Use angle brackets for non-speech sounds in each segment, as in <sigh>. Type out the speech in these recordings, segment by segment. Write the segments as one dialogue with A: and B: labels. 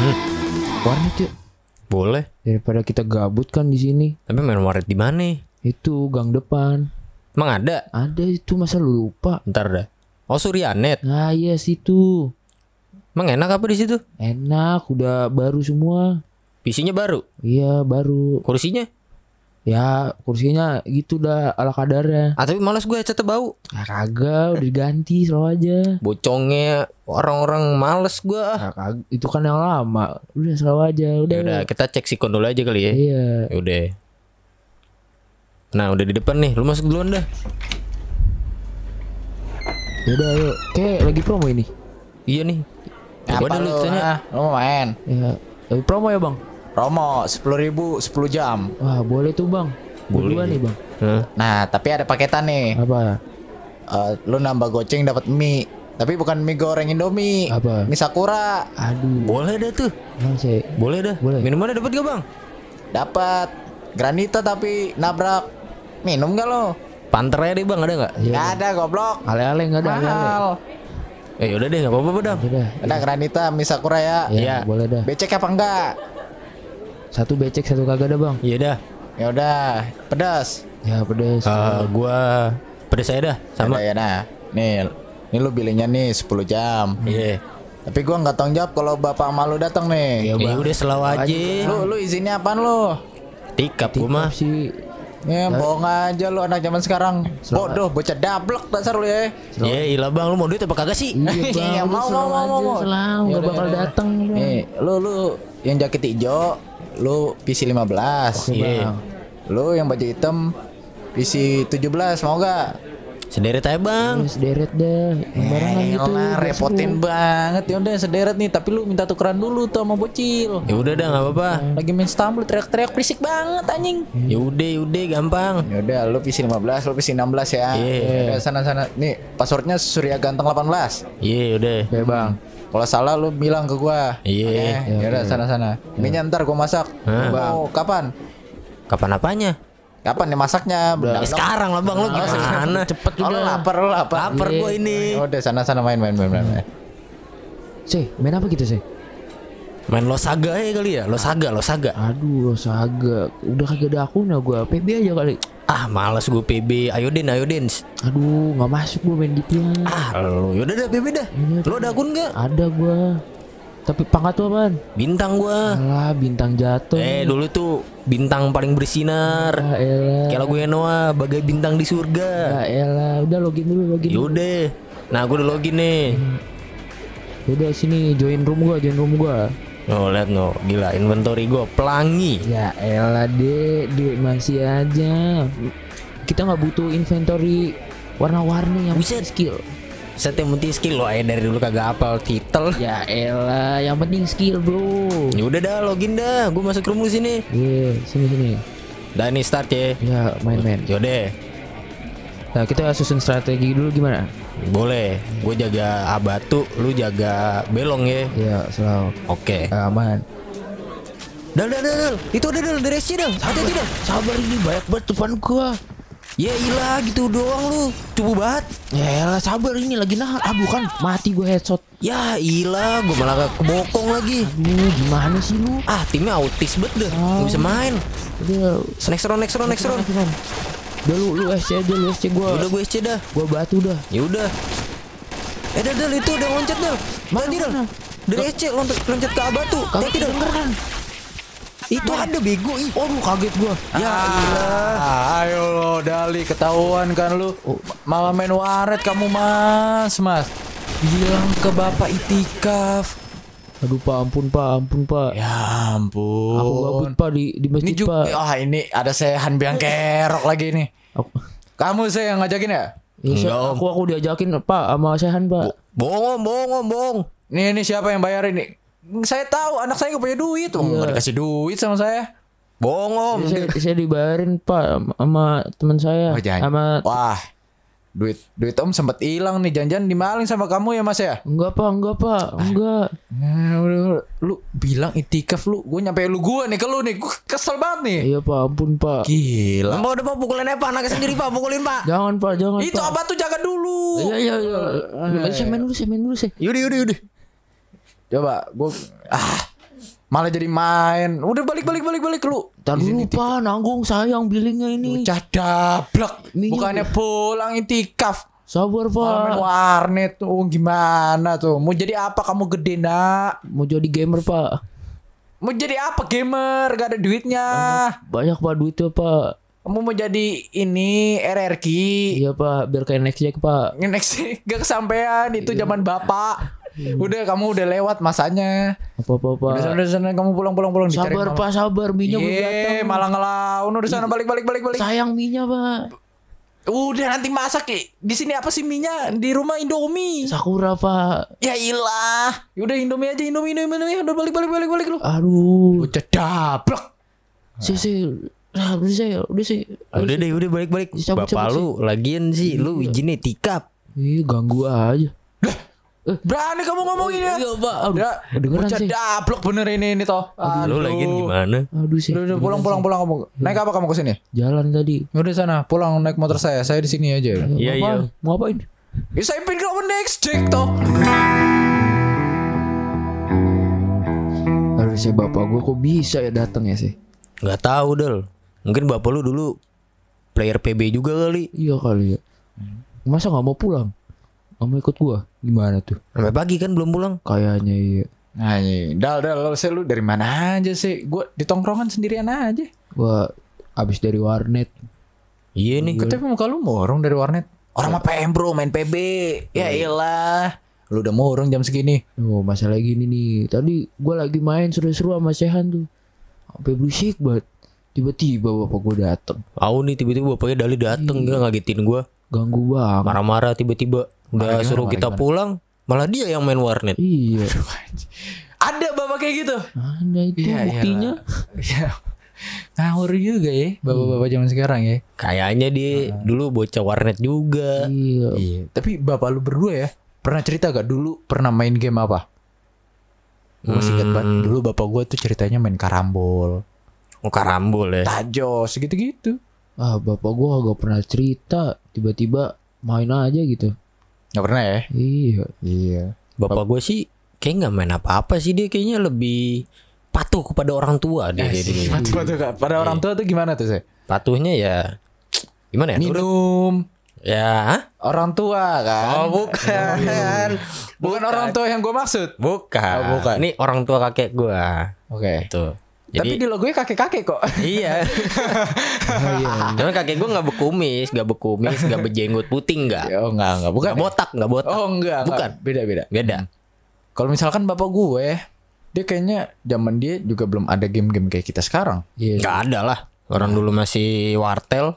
A: Hmm.
B: warnet ya
A: Boleh.
B: daripada kita gabut kan di sini
A: Tapi main warnet di mana?
B: itu gang depan
A: Emang ada?
B: ada itu masa lu lupa
A: Ntar dah. Oh Suryanet.
B: nah iya situ
A: Emang enak apa di situ?
B: enak udah baru semua
A: PC-nya baru,
B: iya baru
A: kursinya.
B: ya kursinya gitu dah ala kadarnya
A: Ah tapi malas gue headsetnya bau.
B: ah, kagak udah diganti selalu aja
A: Bocongnya orang-orang males gue.
B: Ah, kag- itu kan yang lama udah selalu aja udah
A: Ya Udah kita cek sikon dulu aja kali ya.
B: iya
A: Udah. Nah udah di depan nih, lu masuk duluan dah.
B: udah yuk kayak lagi promo ini
A: Iya nih.
C: Apa
A: Coba deh
C: lu,
A: lu tanya.
C: ah? Lu mau main?
B: ya lagi promo ya bang
C: Promo 10.000 10 jam.
B: wah boleh tuh bang
A: Boleh.
B: Berdua nih bang
A: Hah?
C: Nah, tapi ada paketan nih.
B: apa
C: Eh, lu nambah goceng dapat mie. Tapi bukan mie goreng Indomie.
B: Apa?
C: Mie sakura.
B: aduh
A: Boleh dah tuh.
B: bang saya
A: Boleh dah.
B: Boleh.
A: Minumannya dapat gak bang?
C: Dapat granita tapi nabrak. Minum gak lo?
A: Panter aja deh bang, ada nggak?
C: Gak ada goblok.
B: ale-ale nggak ada ale-ale
C: Mahal.
A: Eh yaudah deh, nggak apa-apa dong.
B: udah
C: Ada granita mie sakura ya.
B: ya,
A: Iya.
B: boleh dah
C: Becek apa enggak?
B: satu becek satu kagak ada bang
A: Iya dah.
C: Ya udah, pedas.
B: ya pedes
A: Eh, gua pada saya dah sama.
C: Ya, udah, ya nah. Nih, ini lu belinya nih 10 jam.
A: Iya.
C: Tapi gua nggak tanggung jawab kalau bapak malu datang nih.
B: Iya,
A: Eh,
B: Bang.
A: udah selalu aja.
C: Lu lu izinnya apaan lu?
A: Tikap gua mah.
B: Maaf sih
C: Ya, bohong aja lu anak zaman sekarang. Bodoh, bocah dablek dasar lu ya.
A: Ya ilah bang, lu mau duit apa kagak sih?
B: Iya bang,
C: <laughs> Iya,
B: udah selalu
C: mau, mau, mau,
B: aja,
C: mau.
B: Selalu,
C: Yaudah,
B: gak Ya, bakal
C: yaudah.
B: datang bang.
C: Nih, lu lu yang jaket hijau, lu
B: Oh,
C: PC 15.
A: Iya.
C: Lu yang baju hitam PC 17 mau gak?
A: Sederet aja bang.
B: Terus deret dah Barengan
C: Eh,
B: gitu
C: elah,
B: biar
C: repotin
B: seru.
C: banget ya udah sederet nih tapi lu minta tukeran dulu tuh sama bocil
A: Ya udah dah, nggak apa-apa.
C: lagi main stumble teriak-teriak berisik banget anjing
A: Ya udah, ya udah, gampang.
C: ya udah lu PC 15 lu PC 16 ya
A: Iya.
C: Yaudah, sana sana nih passwordnya Surya Ganteng 18
A: Iya udah.
B: Oke bang
C: kalau salah lu bilang ke gua
A: Iya.
C: ya udah sana sana mie ntar gua masak
A: Hah.
C: Bang. Oh, kapan
A: Kapan apanya?
C: kapan nih masaknya
A: Ya, sekarang lah bang, lu gimana? Cepet
C: Oh, lu lapar lu lapar
A: Lapar gua ini.
C: Ya udah sana sana main main main main, main.
B: Seh main apa kita seh
A: Main losaga ya kali ya, losaga, losaga.
B: Aduh saga Udah kagak ada akunnya gua PB aja kali
A: Ah males gue PB, ayo den, ayo den.
B: Aduh nggak masuk gua main gituan
A: Ah lu, yaudah dah PB dah. Lu ada akun nggak?
B: Ada gua Tapi pangkat lu apaan?
A: Bintang gua.
B: Alah bintang jatuh
A: Eh dulu tuh bintang paling bersinar.
B: Ya elah
A: Kayak lagunya Noah, bagai bintang di surga.
B: Ya elah Udah login dulu login
A: Yaudah. Nah gue udah login nih.
B: Udah sini join room gua Join room gua
A: Oh lihat no, gila inventory gue pelangi.
B: Ya elah dek Dek masih aja Kita nggak butuh inventory Warna-warni yang
A: Buset.
B: skill
A: Set yang penting skill lo ya dari dulu kagak hafal titel.
B: Ya elah Yang penting skill bro
A: Ya udah dah login dah, gue masuk room lu sini.
B: Iya sini sini
A: Dah nih start ya.
B: Ya main-main
A: Yaudah,
B: Nah kita susun strategi dulu gimana?
A: boleh. Gue jaga abatu, lu jaga belong ya.
B: Ya selalu Ya,
A: Oke.
B: aman
A: Dal dal dal, dal. itu udah dal dari sini dal. Hati-hati dal.
B: Sabar ini banyak banget depan gua
A: Ya ilah gitu doang lu, cupu banget.
B: Ya elah sabar ini lagi nahan Ah bukan mati gua headshot
A: Ya ilah, gue malah kebokong lagi.
B: Aduh gimana sih lu?
A: Ah timnya autis bet deh, nggak bisa main.
B: Udah
A: Next round, next round, next round.
B: Cuman Udah lu, lu SC aja lu SC gua
A: Udah gue SC dah.
B: Gua batu dah
A: Ya udah. Eh Dal, Dal, itu udah loncat Dal. Mati Dal. Dari SC loncat loncat ke abah tuh. Tapi Dal. Itu ada bego ih.
B: Oh kaget gua
A: Ya ilah.
C: Ah, ayo lo Dali ketahuan kan lu malah main waret kamu mas mas bilang ke bapak itikaf
B: Aduh pak ampun pak ampun pak
C: ya
B: Aku gabut
C: ampun
B: pak di, di
C: ini
B: masjid
C: juga
B: pak
C: ah ini ada sehan biang
B: Iya.
C: kerok lagi nih
B: Aku,
C: kamu saya yang ngajakin ya
B: Ya, saya-
A: Enggak, Om.
B: aku aku diajakin pak sama Sehan pak
A: Bohong, bohong, bohong.
C: nih ini siapa yang bayarin nih saya tahu anak saya gak punya duit
B: Iya.
C: Wah, nggak dikasih duit sama saya
A: Bohong
C: Ya,
A: om.
B: Ya, saya, saya dibayarin pak sama teman saya
C: Oh, jangan.
B: Iya, sama
C: wah duit duit om sempet hilang nih janjian dimaling sama kamu ya mas ya
B: enggak pak enggak pak
C: Ah.
B: enggak
C: Nah, udah, udah. lu bilang itikaf lu, gue nyampe lu gue nih ke lu nih, gue kesel banget nih.
B: iya pak ampun pak
C: Gila.
A: Mau udah pak pukulin apa anaknya sendiri pak pukulin pak.
B: jangan pak jangan
C: Itu Eh.
B: pak
C: abah tuh jaga dulu.
B: iya iya iya saya main dulu saya main dulu saya
A: Yudi yudi yudi.
C: Coba gue ah Malah jadi main. Udah balik balik balik balik lu.
B: Ntar
C: Izin
B: dulu
C: itikaf.
B: pak, nanggung sayang billingnya ini.
C: Bocah dablek.
B: Ini-
C: Bukannya pulang itikaf.
B: Sabar
C: Malah main
B: pak.
C: warnet tuh gimana tuh? Mau jadi apa kamu gede nak?
B: Mau jadi gamer pak.
C: Mau jadi apa gamer? Gak ada duitnya.
B: Banyak pak duitnya pak.
C: Kamu mau jadi ini RRQ.
B: Iya pak, biar kayak next jack pak.
C: Next <laughs> gak kesampaian itu
B: Iya.
C: zaman bapak. Udah kamu udah lewat masanya.
B: Apa apa pak.
C: Udah sana, udah sana kamu pulang pulang pulang dicari
B: Sabar
C: mama.
B: pak, sabar minyak belum
C: Iya,
B: datang.
C: malah ngelawan udah sana balik balik balik balik.
B: Sayang minyak pak.
C: Udah nanti masak Ki. Di sini apa sih minyak? Di rumah Indomie.
B: Sakura pak.
C: Ya ilah. Ya Udah Indomie aja Indomie Indomie. Indomie. Udah balik balik balik balik lu.
B: Aduh.
C: Udah dablek.
B: Si si. Ah, udah sih, udah sih.
C: Ya,
A: Udah deh, udah balik-balik.
B: Dicabut, cabut,
A: Bapak lu lagian sih lu
C: Iya.
A: izinnya tikap.
B: Ih, ganggu aja.
C: Eh. Berani kamu ngomongin ya?
B: Iya pak. Aduh,
C: Ya,
B: kedengeran
C: bocah
B: sih.
C: dablek bener ini ini toh.
A: Lu
C: Aduh.
A: lagian gimana?
B: Aduh sih.
C: Udah, udah pulang pulang pulang kamu. Naik apa kamu ke sini?
B: Jalan tadi.
C: Udah sana, pulang naik motor saya. Saya di sini
A: Iya,
C: aja.
B: Mau
A: iya.
B: apaan? Mau apain?
C: Ya, Saya pindah ke next Jack toh.
B: Harusnya bapak gue kok bisa ya datang ya sih?
A: iya. Gak tahu Del. Mungkin bapak lu dulu player PB juga kali.
B: Iya kali ya. Masa nggak mau pulang? Nggak mau ikut gua? Gimana tuh?
A: Sampai pagi kan belum pulang.
B: Kayaknya iya.
C: Nah, ini. dal dal lu, sih, lu dari mana aja sih? Gue di tongkrongan sendirian aja.
B: Gua abis dari warnet.
A: Iya nih.
C: Tapi muka lu murung dari warnet. Orang mah PM bro main PB. Ya ilah. Lu udah murung jam segini.
B: Oh masalah gini nih. Tadi gua lagi main seru-seru sama Sehan tuh. Sampai berisik banget. Tiba-tiba bapak gua datang.
A: Aku nih tiba-tiba bapaknya Dali
C: Iya.
A: dateng gila ngagetin gua.
B: Ganggu banget.
A: Marah-marah tiba-tiba. Udah suruh kita pulang. Malah dia yang main warnet.
B: Iya.
C: Ada bapak kayak gitu.
B: Ada itu buktinya.
C: Ya. Ngawur juga ya bapak-bapak zaman sekarang ya.
A: Kayaknya dia dulu bocah warnet juga.
B: Iya.
C: Iya. Tapi bapak lu berdua ya pernah cerita gak dulu pernah main game apa? Gue masih ingat banget dulu bapak gua tuh ceritanya main karambol,
A: Oh karambol
C: Eh. Iya.
A: ya.
C: tajos gitu-gitu.
B: Ah bapak gua agak pernah cerita. Tiba-tiba main aja gitu.
C: Gak pernah ya?
B: Iya.
C: Iya.
A: Bapak gue sih kayak nggak main apa-apa sih dia kayaknya lebih patuh kepada orang tua
C: Iya
A: dia, dia, dia.
C: Coba tuh Kak. Pada orang tua tuh gimana tuh saya?
A: Patuhnya ya gimana ya? Nurut.
C: Minum.
A: Ya, hah?
C: Orang tua kan?
A: Oh, bukan.
C: bukan. Bukan orang tua yang gue maksud.
A: bukan.
C: Oh, bukan.
A: Ini orang tua kakek gua.
C: Oke.
A: Tuh.
C: Tapi
A: Jadi
C: di logonya kakek-kakek kok. <laughs>
A: iya.
C: Oh, iya.
A: Cuman kakek gua nggak berkumis, nggak berkumis, nggak berjenggot putih nggak.
C: oh enggak, enggak. Bukan.
A: Nggak botak, nggak botak.
C: Oh enggak, enggak.
A: Bukan.
C: Beda-beda.
A: Beda.
C: Kalau misalkan bapak gue, dia kayaknya zaman dia juga belum ada game-game kayak kita sekarang.
B: Iya.
A: Nggak ada lah. Orang dulu masih wartel.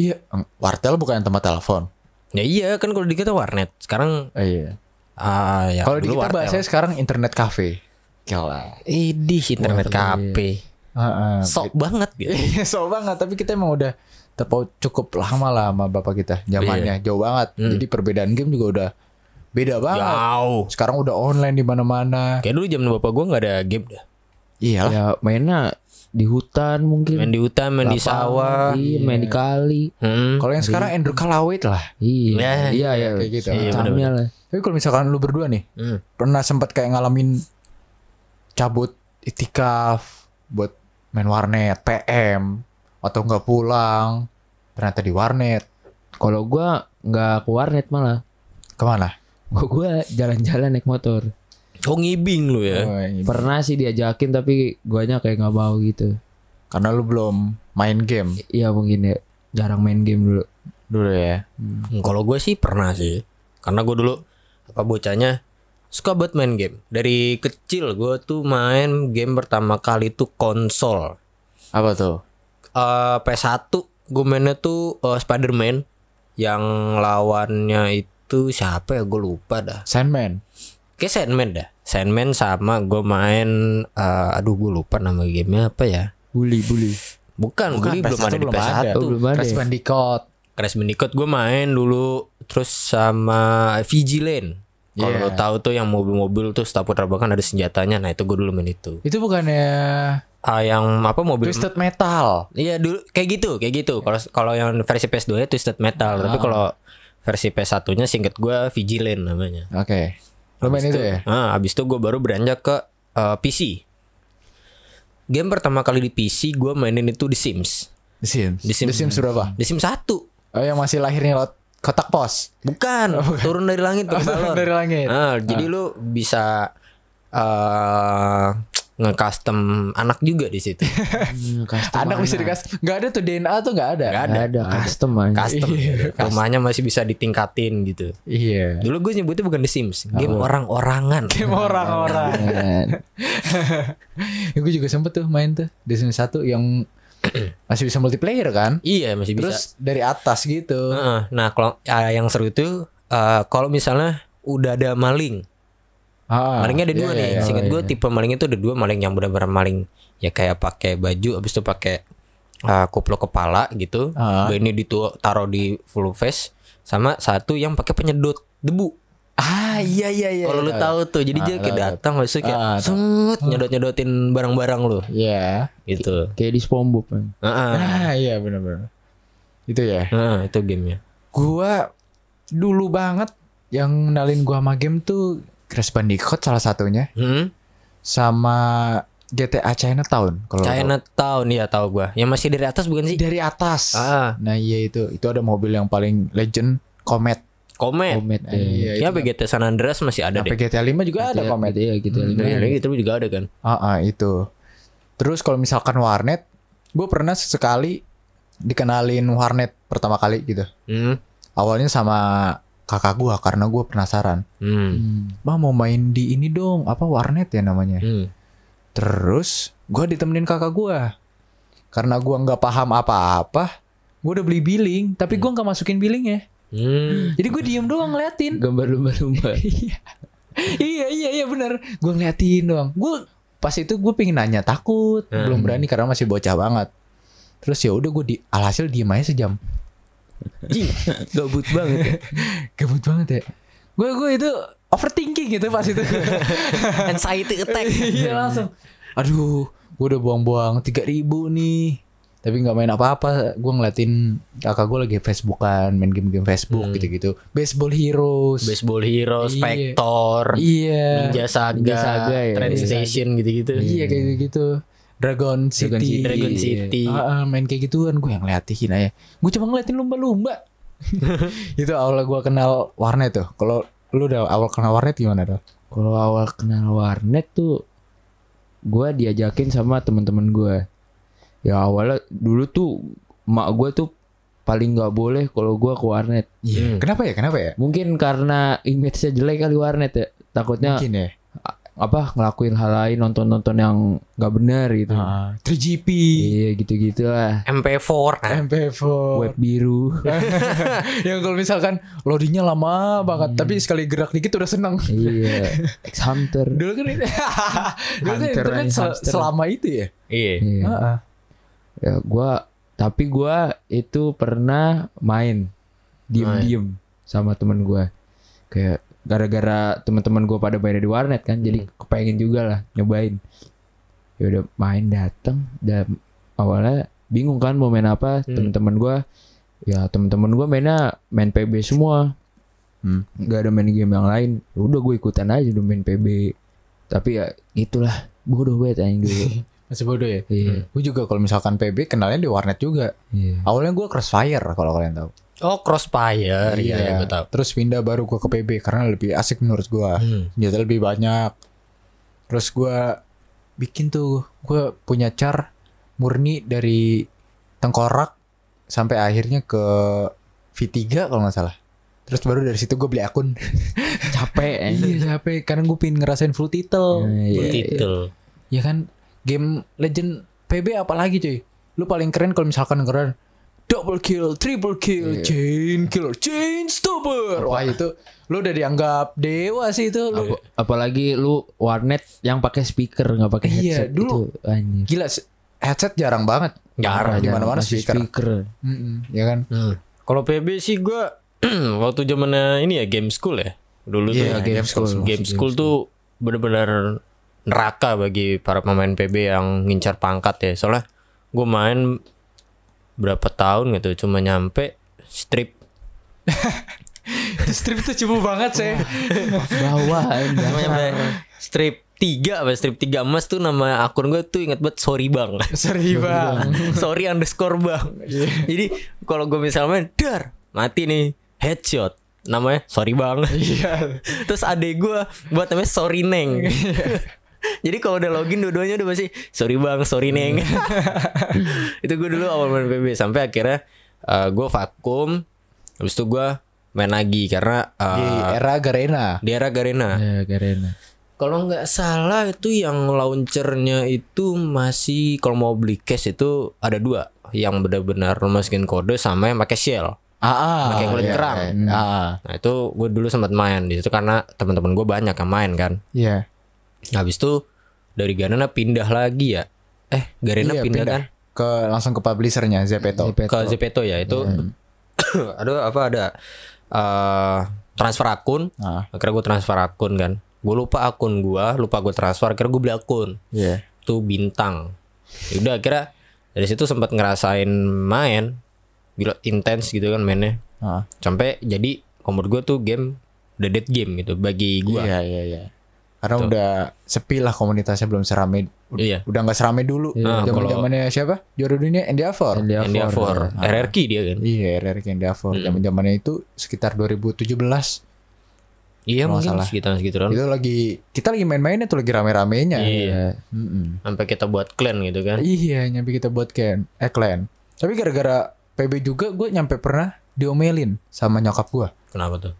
C: Iya. Wartel bukan tempat telepon.
A: Ya iya kan kalau di kita warnet. Sekarang
C: Eh, iya.
A: ah ya
C: Kalau di
A: dulu
C: kita
A: wartel.
C: bahasanya sekarang internet cafe. Gila.
A: Idih internet kafe.
C: Heeh. <laughs>
A: Sok banget gitu.
C: Iya, so banget. Tapi kita emang udah terpaut cukup lama lah sama bapak kita. Zamannya jauh banget. Jadi perbedaan game juga udah beda banget.
A: Jauh.
C: Sekarang udah online di mana-mana.
A: Kayak dulu zaman bapak gua nggak ada game dah.
C: Iyalah.
B: Ya mainnya di hutan mungkin.
A: Main di hutan, main di sawah.
B: Iya, main di kali.
A: Hmm.
C: Kalau yang sekarang Andrew Kalawit lah.
B: Iya.
A: Ya,
B: Iya, iya.
C: Kayak gitu.
A: Iya,
B: Macamnya
A: bener-bener.
B: lah.
C: Tapi kalau misalkan lu berdua nih
A: Hmm.
C: pernah sempat kayak ngalamin cabut itikaf buat main warnet, PM atau nggak pulang ternyata di warnet
B: Kalau gua nggak ke warnet malah.
C: kemana?
B: Gua gua jalan-jalan naik motor.
A: Oh ngibing lu ya.
C: Oh, ini.
B: Pernah sih diajakin tapi guanya kayak nggak mau gitu.
C: Karena lu belum main game
B: Iya mungkin ya. Jarang main game dulu.
C: dulu ya.
A: Hmm, Kalau gue sih pernah sih. Karena gue dulu apa bocahnya suka banget main game. Dari kecil gue tuh main game pertama kali tuh konsol.
C: Apa tuh?
A: Eh PS1 gue mainnya tuh eh, Spider-Man yang lawannya itu siapa ya gue lupa dah.
C: Sandman.
A: Kayak Sandman dah. Sandman sama gue main eh, aduh gue lupa nama gamenya apa ya.
B: Bully, bully.
A: Bukan, Gully belum ada di PS1.
B: Oh, belum ada
C: Crash
B: ya?
C: Bandicoot.
A: Crash Bandicoot gue main dulu terus sama Vigilant. Kalau
C: Iya.
A: lo tahu tuh yang mobil-mobil tuh setiap tabrakan ada senjatanya. Nah, itu gue dulu main itu.
C: Itu bukannya
A: Ah yang apa mobil
C: Twisted Metal.
A: Iya dulu kayak gitu, kayak gitu. Kalau kalau yang versi PS2 nya Twisted Metal,
C: Ah.
A: tapi kalau versi PS1-nya singkat gue Vigilant namanya.
C: Oke. Lu main itu ya?
A: Ah, habis itu gue baru beranjak ke eh, PC. game pertama kali di PC gue mainin itu The Sims.
C: The Sims.
A: The Sims.
C: The Sims berapa?
A: The Sims 1.
C: Oh yang masih lahirnya lewat kotak pos.
A: Bukan,
C: Oh,
A: turun <laughs> dari langit pakai balon.
C: dari langit.
A: Ah, jadi lu bisa eh nge-custom anak juga di situ.
B: Hmm, custom
C: Anak bisa dikasih. Gak ada tuh DNA tuh gak ada.
A: Gak
B: Nggak
A: ada.
B: ada custom aja.
A: Custom. Rumahnya masih bisa ditingkatin gitu.
C: Iya.
A: Dulu gue nyebutnya bukan The Sims, game orang-orangan.
C: Oh. Game <laughs> orang-orang. ya, gue juga sempet tuh main tuh di sini satu
A: <clears throat>
C: yang masih bisa multiplayer kan.
A: Iya, masih bisa.
C: Terus dari atas gitu.
A: Heeh. nah, kalau ah, yang seru itu eh, kalau misalnya udah ada maling.
C: Ah,
A: Malingnya ada
C: iya,
A: dua
C: iya,
A: nih.
C: iya.
A: Seingat gue tipe maling itu ada dua maling yang benar-benar maling ya kayak pakai baju habis itu pakai uh, kuplok kepala gitu.
C: Ah.
A: Ini ditaruh di full face sama satu yang pakai penyedot debu.
C: Ah iya iya iya.
A: Kalau lu
C: iya.
A: tahu tuh. Jadi dia
C: Ah,
A: kayak
C: tahu,
A: datang habis itu kayak
C: Ah, tahu.
A: sut nyedot-nyedotin barang-barang lu
C: Iya.
A: gitu.
B: Kayak di SpongeBob kan.
A: Heeh.
C: Ah iya benar-benar. Itu ya.
A: Heeh, Ah, itu gamenya.
C: Gua dulu banget yang nalin gua sama game tuh Crash Bandicoot salah satunya
A: Hmm?
C: sama GTA Chinatown kalau lu
A: Chinatown ya tahu gua. Yang masih dari atas bukan
C: tahu.
A: sih?
C: dari atas.
A: Ah,
C: Nah iya itu itu ada mobil yang paling legend Comet.
A: Komet.
B: Komet.
C: Nah,
B: ya.
C: iya, Nah,
A: Ya
C: itu.
A: PGT San Andreas masih ada deh.
C: Sampai GTA 5 juga
B: Gitu
C: ada
B: ya,
C: Comet.
B: gitu ya, gitu ya.
C: Hmm,
A: Dari lagi itu juga ada kan.
C: Ah ah, itu. Terus kalau misalkan warnet, gue pernah sesekali dikenalin warnet pertama kali gitu.
A: Hmm.
C: Awalnya sama kakak gua karena gue penasaran.
A: Hmm.
B: Hmm.
C: Bah mau main di ini dong, apa warnet ya namanya?
A: Hmm.
C: Terus gua ditemenin kakak gua karena gua nggak paham apa-apa. Gue udah beli billing, tapi gua nggak masukin billingnya.
A: Hmm.
C: Jadi gue diem doang ngeliatin.
B: Gambar
C: <laughs>
B: lumba-lumba.
C: Iya. iya iya iya benar gue ngeliatin doang gue pas itu gue pengen nanya takut
A: Hmm.
C: belum berani karena masih bocah banget terus ya udah gue di alhasil diem aja sejam
A: Jing, gabut banget. ya.
C: <laughs> gabut banget ya gue gue itu overthinking gitu pas
A: <laughs>
C: itu
A: Anxiety attack.
C: iya langsung aduh gue udah buang-buang tiga ribu nih tapi nggak main apa-apa gue ngeliatin kakak gue lagi Facebookan main game-game Facebook
A: Hmm.
C: gitu-gitu baseball heroes
A: Baseball Hero,
C: Iya.
A: Spector,
C: iya
A: Ninja Saga,
B: Ninja Saga ya.
A: Train
B: Iya.
A: Station gitu-gitu.
C: Iya kayak gitu. Dragon City.
B: Dragon City.
A: Dragon
B: Iya.
A: City.
C: Ah, ah, main kayak gituan gue yang ngeliatin aja. Gue cuma ngeliatin
B: <laughs>
C: lumba-lumba. itu awal gue kenal warnet tuh. Kalau lu udah awal kenal warnet gimana tuh?
B: Kalau awal kenal warnet tuh gua diajakin sama teman-teman gua. Ya awalnya dulu tuh mak gua tuh paling nggak boleh kalau gua ke warnet.
C: Iya.
A: Hmm.
C: Kenapa ya? Kenapa ya?
B: Mungkin karena image-nya jelek kali warnet ya. Takutnya
C: Mungkin ya.
B: apa ngelakuin hal lain nonton-nonton yang nggak benar gitu.
C: Ah, 3GP,
B: Iya gitu-gitu lah.
A: MP4. nah.
C: MP4.
B: Web biru.
C: yang Ya, kalau misalkan loadingnya lama
B: Hmm.
C: banget, tapi sekali gerak dikit udah seneng.
B: iya. Ex
C: <laughs>
B: hunter.
C: Dulu kan
B: <laughs>
C: ini, dulu kan
B: Hunter
C: internet
B: aja,
C: sel-
B: hamster.
C: selama itu ya.
A: Iya.
B: Iya.
C: Ah, ah.
B: Ya gua tapi gua itu pernah main diem-diem sama temen gua. Kayak gara-gara teman-teman gua pada main di warnet kan, jadi
C: Hmm.
B: kepengen juga lah nyobain. Ya udah main dateng dan awalnya bingung kan mau main apa
A: Hmm.
B: teman-teman gua ya teman-teman gua mainnya main PB semua
C: Hmm.
B: nggak ada main game yang lain Ya udah gue ikutan aja dulu main PB tapi ya gitulah bodoh banget anjing
C: <laughs>
B: dulu
C: Masih bodoh ya.
B: iya
C: Gue juga kalau misalkan PB kenalnya di warnet juga.
B: iya
C: Awalnya gue Crossfire kalau kalian tahu.
A: Oh, Crossfire. Iya, iya gue tahu.
C: Terus pindah baru gue ke PB karena lebih asik menurut gue.
A: Hmm.
C: Senjata lebih banyak. Terus gue bikin tuh gue punya char murni dari tengkorak sampai akhirnya ke V3 kalau nggak salah. Terus baru dari situ gue beli akun.
B: capek
A: Eh.
B: anjing.
C: iya capek karena gue pengen ngerasain full title.
B: Iya, iya.
A: Titel.
C: Ya kan game legend PB apalagi cuy. Lu paling keren kalau misalkan keren double kill, triple kill, chain killer, chain stopper. Iya. Wah itu lu udah dianggap dewa sih itu. Lu
B: Apa- apalagi lu warnet yang pakai speaker nggak pakai
C: Iya,
B: headset gitu.
C: dulu.
B: itu anjir
C: gila se- headset jarang banget.
A: Jarang.
C: di
B: Ada
C: mana-mana
B: masih
C: speaker. Mm-mm, ya <laughs> kan?
B: Nah.
A: Hmm. Kalau PB sih gua <clears throat> waktu zamannya ini ya game school ya. Dulu tuh
C: Iya,
B: game
C: game
B: school.
C: school.
A: game school tuh bener-bener neraka bagi para pemain PB yang ngincar pangkat ya soalnya gue main berapa tahun gitu cuma nyampe strip
C: Strip itu cuma banget sih.
B: bawah ya?
A: cuma nyampe strip tiga apa ya? strip tiga emas tuh nama akun gue tuh inget banget sorry bang <laughs>
C: <laughs> Sorry bang.
A: sorry underscore bang jadi kalau gue misalnya main, dar mati nih headshot namanya sorry bang
C: Iya.
A: <laughs> terus adek gue buat namanya sorry neng <laughs> jadi kalau udah login dua-duanya udah pasti sorry bang sorry neng <laughs> itu gue dulu awal main PB sampai akhirnya gue vakum habis itu gue main lagi karena
C: Di
A: eh,
C: era Garena.
A: di era Garena
B: Ya, Garena.
A: kalau nggak salah itu yang launchernya itu masih kalau mau beli cash itu ada dua yang benar-benar masukin kode sama yang pakai shell.
C: Ah,
A: Pakai kulit
C: iya,
A: kerang.
C: iya. Ah,
A: Nah itu gue dulu sempat main di situ karena teman-teman gue banyak yang main kan.
C: iya.
A: Habis itu dari Garena pindah lagi ya. Eh Garena
C: Iya,
A: pindah,
C: pindah.
A: kan
C: Ke langsung ke publishernya Zepeto. Hmm.
B: Zepeto.
A: ke Zepeto ya itu. <coughs> ada apa ada eh, transfer akun.
C: Ah,
A: Akhirnya gue transfer akun kan. Gue lupa akun gue, lupa gue transfer. Akhirnya gue beli akun.
C: iya.
A: tuh bintang. Ya Udah akhirnya dari situ sempat ngerasain main gila intens gitu kan mainnya.
C: Ah,
A: Sampai jadi komod gue tuh game the dead game gitu bagi gua.
C: iya, iya, iya. Karena udah sepi lah komunitasnya belum serame. ud-
A: Iya.
C: Udah nggak serame dulu.
A: Nah,
C: Zaman zamannya siapa? Juara dunia NDA4.
B: Dia
A: And dia for
B: for.
C: Ah.
A: RRQ dia kan.
C: Iya, RRQ NDA4.
A: Hmm.
C: Zaman zamannya itu sekitar 2017.
A: Iya
C: Kalau nggak
A: mungkin
C: salah.
A: sekitar segituan.
C: Itu lagi kita lagi main-mainnya tuh lagi rame-ramenya.
A: Hmm. Iya.
B: Iya.
C: Mm-mm.
A: Sampai kita buat clan gitu kan.
C: Iya, nyampe kita buat clan, eh clan. Tapi gara-gara PB juga gue nyampe pernah diomelin sama nyokap gue.
A: Kenapa tuh?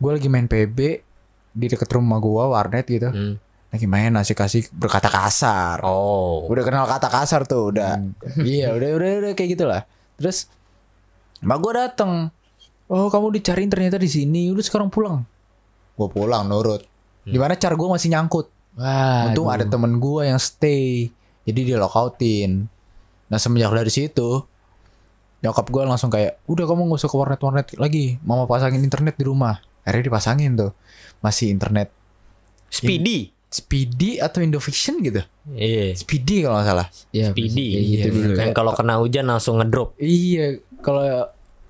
C: Gue lagi main PB di deket rumah gue warnet gitu.
A: Hmm.
C: Lagi main asik kasih berkata kasar.
A: Oh.
C: Udah kenal kata kasar tuh udah. iya, udah udah udah kayak gitulah. Terus mbak gue dateng. Oh kamu dicariin ternyata di sini. Udah sekarang pulang. Hmm. Gue pulang nurut. Gimana car gue masih nyangkut.
B: Wah.
C: Untung ada temen gue yang stay. Jadi dia lockoutin. Nah semenjak dari situ. Nyokap gue langsung kayak. Udah kamu gak usah ke warnet-warnet lagi. Mama pasangin internet di rumah. Akhirnya dipasangin tuh. Masih internet.
A: Speedy.
C: Speedy atau Indovision gitu.
A: Iya.
C: Speedy kalau gak salah.
B: ya,
A: Speedy.
B: kayak gitu
A: Iya,
B: dulu.
A: Kan kalau kena hujan langsung ngedrop.
C: Iya. Kalau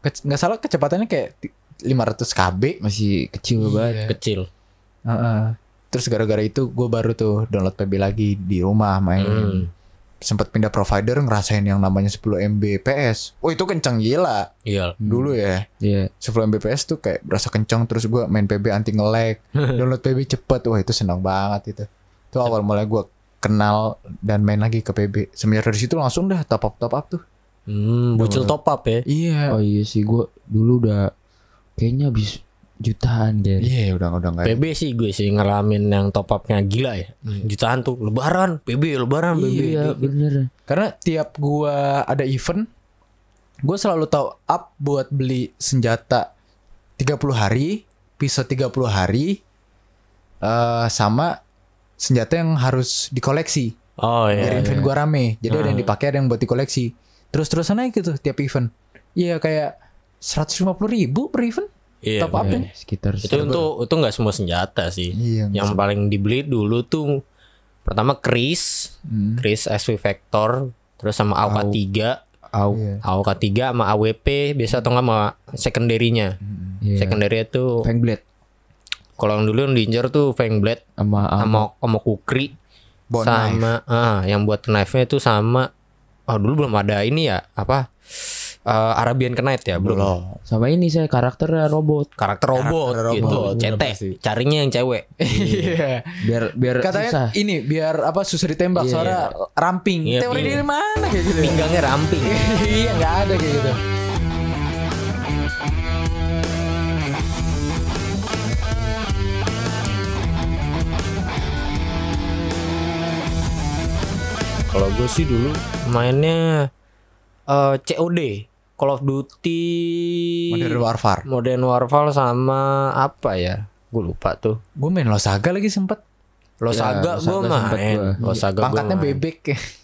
C: ke- nggak salah kecepatannya kayak ti- 500 KB.
B: Masih
C: Iya.
B: kecil banget.
A: Kecil.
C: Heeh. Terus gara-gara itu gue baru tuh download PB lagi di rumah main.
A: Hmm.
C: Sempat pindah provider ngerasain yang namanya 10 Mbps. Oh itu kenceng gila.
A: Iya.
C: dulu ya
B: Iya.
C: 10 Mbps tuh kayak berasa kencang terus gua main PB anti <laughs> nge-lag download PB cepet wah itu senang banget itu itu awal mulai gua kenal dan main lagi ke PB semenjak dari situ langsung dah top up top up tuh
A: Hmm, bocil top up ya.
C: iya
B: Oh iya sih gue dulu udah kayaknya habis jutaan deh.
C: iya udah udah nggak
A: PB sih gue sih ngalamin yang top upnya gila ya. Jutaan tuh lebaran, PB lebaran, PB.
B: Hmm. Iya bener.
C: karena tiap gua ada event gua selalu top up buat beli senjata 30 hari pisau 30 hari eh sama senjata yang harus dikoleksi
A: Oh
C: biar
A: iya. Hmm.
C: event gua rame jadi ada yang dipakai ada yang buat dikoleksi terus terusan naik gitu tiap event iya kayak 150 ribu per event
A: Iya,
C: top up
B: Ya, sekitar
A: Itu untuk itu nggak semua senjata sih.
B: Hmm.
C: Iya, nggak
A: yang paling dibeli dulu tuh pertama Chris,
B: Hmm.
A: Chris SV Vector, terus sama AOK 3,
B: au.
C: Iya.
A: AOK 3 sama AWP biasa atau nggak sama secondary-nya.
B: Iya.
A: Secondary tuh
B: Fangblade
A: kalau yang dulu yang diincar tuh Fangblade
B: sama am.
A: sama sama Kukri
C: Bone
A: sama ah yang buat knife-nya itu sama oh dulu belum ada ini ya apa eh, Arabian Knight ya belum
C: belum
B: sama ini saya karakternya robot
A: karakter robot
C: Karakter
A: gitu
C: robot,
A: CT
C: bener pasti.
A: carinya yang cewek
C: iya
B: biar biar
C: katanya
B: susah.
C: ini biar apa susah
A: Iya.
C: ditembak suara ramping
A: Iya,
C: teori
A: iya.
C: dari mana kayak gitu ya?
A: pinggangnya ramping
C: iya nggak ada kayak gitu
A: <laughs> kalau gue sih dulu mainnya eh, COD Call of Duty
C: modern warfare
A: Modern Warfare sama apa ya gue lupa tuh
C: gue main Losaga lagi sempet
A: Losaga
B: Losaga
A: gue
B: sempet
A: main
B: gua.
A: Losaga gua
C: pangkatnya
A: main.
C: bebek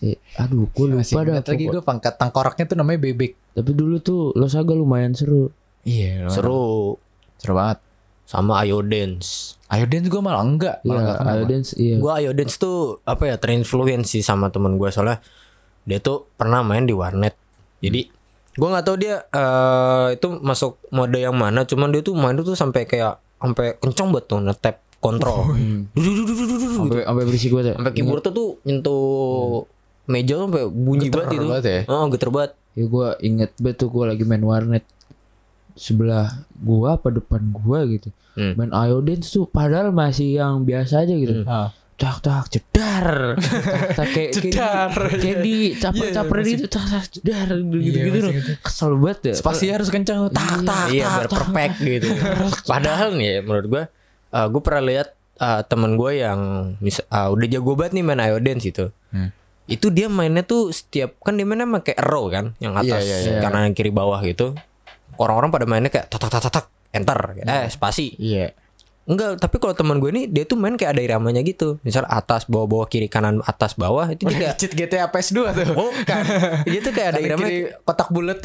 B: Eh, aduh gue
C: Iya, Masih
B: lupa dah
C: ingat lagi
B: pokok-
C: gue pangkat tengkoraknya tuh namanya bebek
B: tapi dulu tuh Losaga lumayan seru
C: iya
A: seru
C: seru banget
A: sama Iodance
C: Ayo dance gue malah enggak malah
B: Iya,
C: enggak kenapa.
B: Ayo Dance, iya.
A: Gua Ayo Dance tuh apa ya terinfluensi sama temen gue soalnya dia tuh pernah main di warnet. Jadi gua nggak tahu dia eh, itu masuk mode yang mana, cuman dia tuh main tuh sampai kayak sampai kenceng banget tuh ngetap
C: Oh,
A: kontrol.
C: iya.
B: Hmm.
A: Dududududududu.
B: Sampai sampai berisik ya. gue tuh.
A: Sampai keyboard tuh tuh nyentuh meja tuh sampai bunyi
C: Geter
A: banget itu.
C: banget ya.
A: Oh, geter banget.
B: Ya gue inget banget tuh gue lagi main warnet sebelah gua apa depan gua gitu.
A: Hmm.
B: Main Iodine tuh padahal masih yang biasa aja gitu.
A: Hmm.
C: Ah.
B: Tak tak jedar. Tak, tak, kayak kayak di-
C: Jedar,
B: Kayak di caper-caper
C: Iya,
B: gitu tak tak jedar
C: Iya,
B: gitu-gitu
C: masih
B: loh.
C: gitu.
B: Kesel banget ya.
C: Spasinya harus kencang tak
B: Iya.
C: tak.
A: Iya, biar
B: tak.
A: perfect
C: <laughs>
A: gitu. Padahal nih ya, menurut gua eh gua pernah lihat eh, temen gua yang mis- eh, udah jago banget nih main Iodance gitu.
C: Hmm.
A: Itu dia mainnya tuh setiap kan dia mainnya pakai arrow kan, yang
C: Iya,
A: atas
C: iya,
B: iya.
A: kanan kiri bawah gitu. Orang-orang pada mainnya kayak tak tak tak tak, tak enter eh spasi
C: Iya.
A: Enggak, tapi kalau teman gue ini dia tuh main kayak ada iramanya gitu. Misal atas, bawah, bawah, kiri, kanan, atas, bawah itu dia
C: <laughs>
A: kayak
C: Cheat GTA PS2 tuh.
A: bukan. dia tuh kayak ada
C: Kanan
A: iramanya.
C: kiri kotak <laughs> bulat.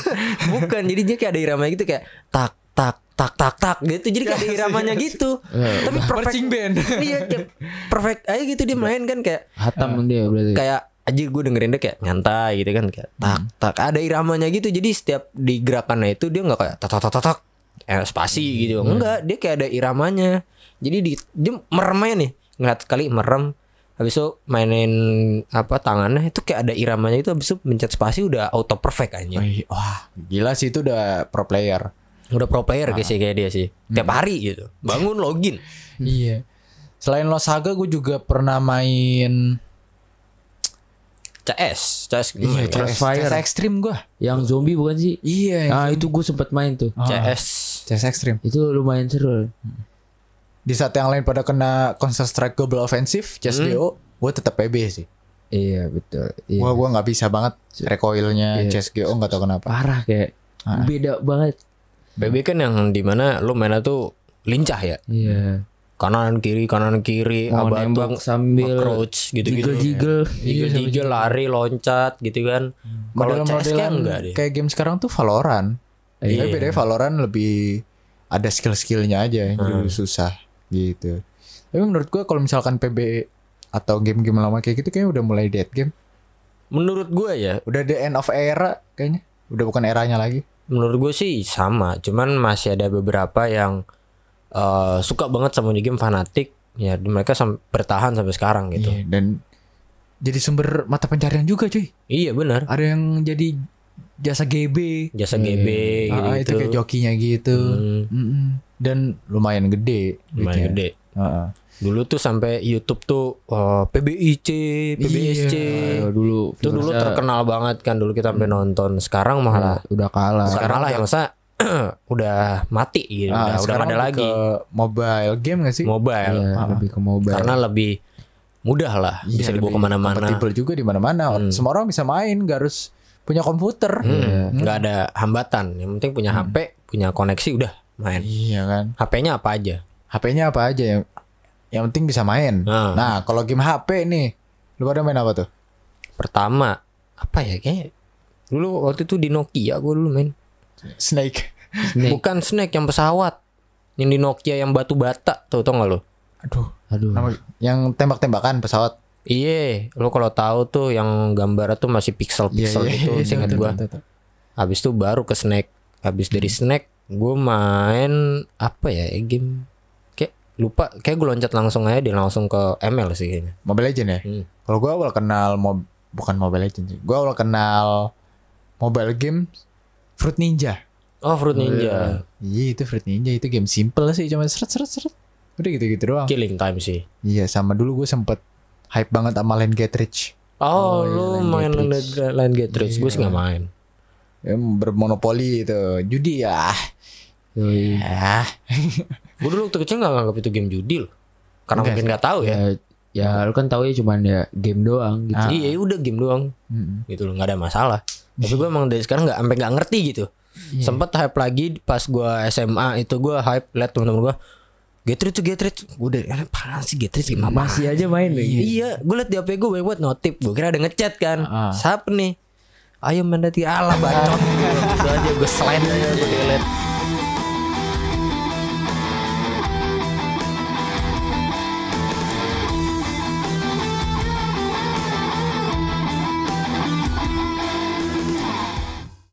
A: <laughs> bukan, jadi dia kayak ada iramanya gitu kayak tak tak tak tak tak gitu. Jadi
C: <laughs>
A: kayak ada iramanya gitu. tapi perfect.
C: Iya. Marching band.
A: <laughs>
C: Iya.
A: iya, kayak perfect aja gitu dia main kan kayak
B: Hatam dia berarti.
A: kayak aja gue dengerin dia kayak nyantai gitu kan kayak tak
C: Hmm.
A: tak ada iramanya gitu jadi setiap di gerakannya itu dia nggak kayak tak tak tak tak, tak eh, spasi
C: Hmm.
A: gitu enggak dia kayak ada iramanya jadi di, dia merem aja nih ngeliat kali merem habis itu mainin apa tangannya itu kayak ada iramanya itu habis itu mencet spasi udah auto perfect aja
C: Wih, Wah, gila sih itu udah pro player.
A: udah pro player guys sih kayak dia sih tiap hari gitu bangun login
C: Iya. Selain Losaga gue juga pernah main
A: CS CS
C: Iya,
A: CS,
B: Crossfire.
C: CS Extreme gue.
B: Yang zombie bukan sih?
C: Iya.
B: Ah itu gue sempat main tuh.
A: CS.
C: CS Extreme.
B: Itu lumayan seru.
C: Di saat yang lain pada kena Counter Strike Global Offensive,
A: Hmm.
C: CS:GO, gue tetap PB sih.
B: Iya betul. Iya.
C: Gua gua nggak bisa banget recoilnya
B: Iya.
C: CS:GO nggak tahu kenapa.
B: Parah kayak
C: Ah.
B: beda banget.
A: BB kan yang dimana lu mainnya tuh lincah ya
B: Iya.
A: kanan kiri kanan kiri
B: Mau
A: abah
B: nembak sambil Iya,
A: crouch gitu gitu
B: jiggle jiggle.
A: jiggle jiggle lari loncat gitu kan kalau CS kan
C: Model-modelan
A: enggak deh
C: kayak game sekarang tuh Valorant.
A: Iya.
C: Tapi bedanya Valorant lebih ada skill-skillnya aja,
A: Hmm.
C: jadi susah gitu. Tapi menurut gua kalau misalkan PB atau game-game lama kayak gitu kayaknya udah mulai dead game.
A: menurut gue ya
C: Udah the end of era kayaknya. Udah bukan eranya lagi.
A: menurut gue sih sama cuman masih ada beberapa yang eh, suka banget sama game fanatik ya mereka sam- bertahan sampai sekarang gitu
C: Iya, dan jadi sumber mata pencarian juga cuy.
A: iya benar
C: Ada yang jadi jasa GB.
A: jasa GB gitu, Hmm,
C: Ah, itu kayak jokinya gitu. Mm-mm. Dan lumayan gede.
A: lumayan
C: duitnya.
A: gede
C: Ah, ah.
A: dulu tuh sampai YouTube tuh eh, PBIC
B: Ayo,
A: PBSC
C: Iya.
B: Iya. dulu
A: itu dulu
B: Firza
A: terkenal banget kan dulu kita sampai nonton sekarang malah
C: Hmm.
B: udah- udah kalah.
A: sekarang malah yang masa <clears throat> udah mati gitu
C: Ah,
A: udah udah
C: sekarang
A: nggak ada
C: lebih
A: lagi
C: ke mobile game gak sih?
A: mobile
B: Iya, lebih ke mobile.
A: karena lebih mudah lah
C: Iya,
A: bisa dibawa
C: lebih
A: kemana-mana
C: Compatible juga di mana-mana.
A: Hmm.
C: Semua orang bisa main, gak harus punya komputer.
B: Iya.
A: Hmm, nggak ada hambatan yang penting punya
C: Hmm.
A: HP punya koneksi udah main
C: Iya kan.
A: HP-nya apa aja
C: HP-nya apa aja yang yang penting bisa main.
A: Ah.
C: Nah, kalau game HP nih, lu pada main apa tuh?
A: pertama apa ya kayaknya dulu waktu itu di Nokia gue dulu main
C: Snake.
B: Snake.
A: bukan snack yang pesawat yang di Nokia yang batu bata tuh tau nggak lo
C: Aduh,
B: Aduh.
A: Hmm.
C: nama yang tembak-tembakan pesawat.
A: Iya, lo kalau tahu tuh yang gambarnya tuh masih pixel-pixel
C: Iya,
A: gitu, seingat
C: tuh,
A: gua.
C: tuh, tuh, tuh.
A: Habis itu baru ke snack. Habis dari snack gue main apa ya game kayak lupa kayak gue loncat langsung aja dia langsung ke ML sih kayaknya.
C: Mobile Legend ya.
A: Hmm.
C: Kalau gua awal kenal mob bukan Mobile Legend sih. Gua awal kenal mobile game Fruit Ninja.
A: Oh Fruit Ninja
C: Iya, itu Fruit Ninja itu game simple sih, cuma seret seret seret. Udah gitu-gitu doang.
A: Killing Time sih.
C: Iya, sama dulu gue sempet hype banget sama Land Get Rich.
A: Oh,
B: Oh,
A: lu
B: iya, Land
A: main
B: Get
A: Land
B: Rich.
A: Get- Land Get Rich, gue sih nggak main.
C: Em, Bermonopoli itu, judi ya.
B: Yoi.
C: Ah,
A: Gue dulu waktu kecil nggak nganggap itu game judi loh, karena
C: Enggak
A: mungkin nggak tahu ya.
B: Ya, ya lu kan tahu ya cuman ya game doang gitu.
A: Iya, ya udah game doang.
C: Mm-mm.
A: gitu loh nggak ada masalah tapi gue emang dari sekarang nggak sampai nggak ngerti gitu sempet hype lagi pas gue SMA itu gue hype liat temen-temen gue Getrit tuh Getrit Gue udah eh, Parah sih Getrit gimana
B: Masih aja main
A: Iya,
B: lagi.
A: Gue liat di HP gue banyak banget notif Gue kira ada ngechat kan
C: Ah.
A: Siapa nih Ayo mandati Allah bacot Gitu aja gue slide aja Gue delete